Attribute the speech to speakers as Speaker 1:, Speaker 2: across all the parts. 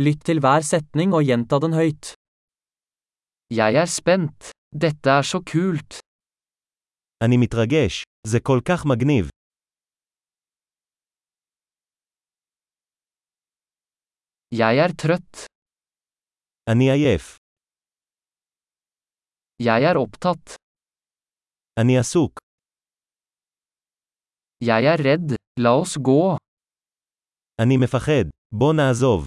Speaker 1: Lytt til hver setning og gjenta den høyt. Jeg er spent. Dette er så kult.
Speaker 2: אני מתרגש, זה כל כך מגניב.
Speaker 1: Jeg er trøtt.
Speaker 2: אני עייף.
Speaker 1: Jeg er opptatt.
Speaker 2: אני עסוק.
Speaker 1: Jeg er redd. La oss gå.
Speaker 2: אני מפחד. בוא נעזוב.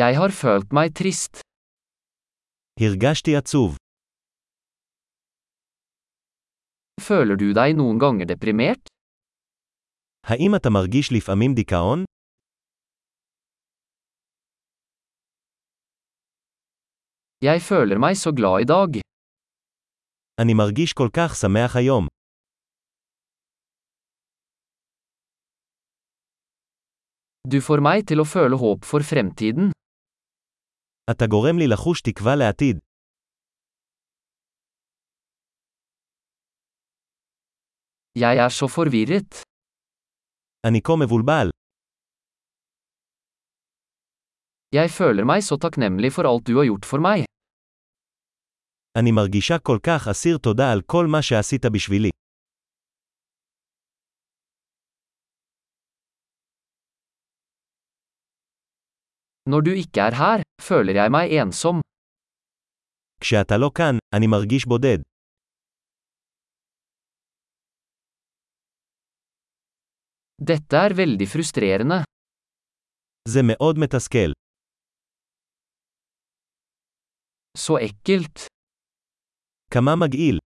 Speaker 1: Jeg har følt meg trist.
Speaker 2: הרגשתי עצוב.
Speaker 1: Føler du deg noen ganger deprimert?
Speaker 2: האם אתה מרגיש לפעמים דיכאון?
Speaker 1: Jeg føler meg så glad i dag.
Speaker 2: אני מרגיש כל כך שמח היום.
Speaker 1: Du får meg til å føle håp for fremtiden.
Speaker 2: אתה גורם לי לחוש תקווה לעתיד.
Speaker 1: Jeg er så forvirret.
Speaker 2: אני כה מבולבל.
Speaker 1: Jeg føler meg så takknemlig for alt du har gjort for meg.
Speaker 2: אני מרגישה כל כך אסיר תודה על כל מה שעשית בשבילי.
Speaker 1: Når du ikke er her, føler jeg meg ensom.
Speaker 2: כשאתה לא כאן, אני מרגיש בודד.
Speaker 1: Dette er veldig frustrerende.
Speaker 2: זה מאוד מתסכל.
Speaker 1: Så ekkelt.
Speaker 2: כמה מגעיל.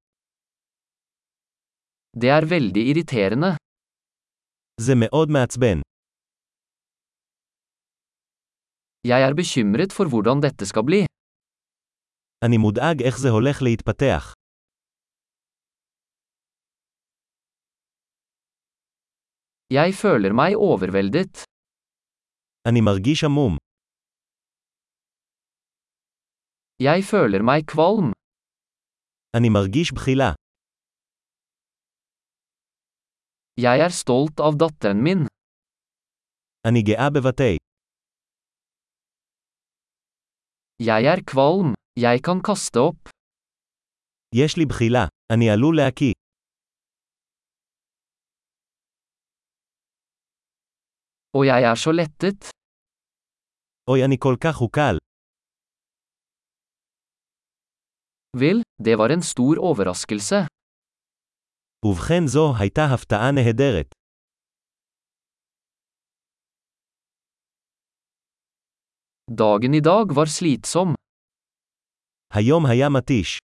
Speaker 1: Det er veldig irriterende.
Speaker 2: זה מאוד מעצבן.
Speaker 1: Jeg er bekymret for hvordan dette skal bli.
Speaker 2: אני מודאג איך זה הולך להתפתח.
Speaker 1: Jeg føler meg overveldet.
Speaker 2: אני מרגיש עמום.
Speaker 1: Jeg føler meg kvalm.
Speaker 2: אני מרגיש בחילה.
Speaker 1: Jeg er stolt av datteren min.
Speaker 2: אני גאה בבתי.
Speaker 1: Jeg er kvalm. Jeg kan kaste opp.
Speaker 2: יש לי בחילה. אני עלול להקיא.
Speaker 1: Og jeg er så lettet.
Speaker 2: אוי, אני כל כך הוקל.
Speaker 1: Vel, det var en stor overraskelse.
Speaker 2: ובכן זו הייתה הפתעה נהדרת.
Speaker 1: Dagen i dag var slitsom.
Speaker 2: היום היה מתיש.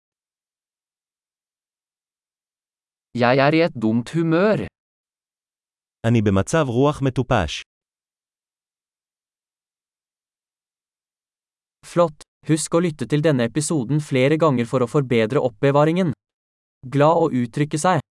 Speaker 1: Jeg er i et dumt humør.
Speaker 2: אני במצב רוח מטופש.
Speaker 1: Flott. Husk å lytte til denne episoden flere ganger for å forbedre oppbevaringen. Glad å uttrykke seg.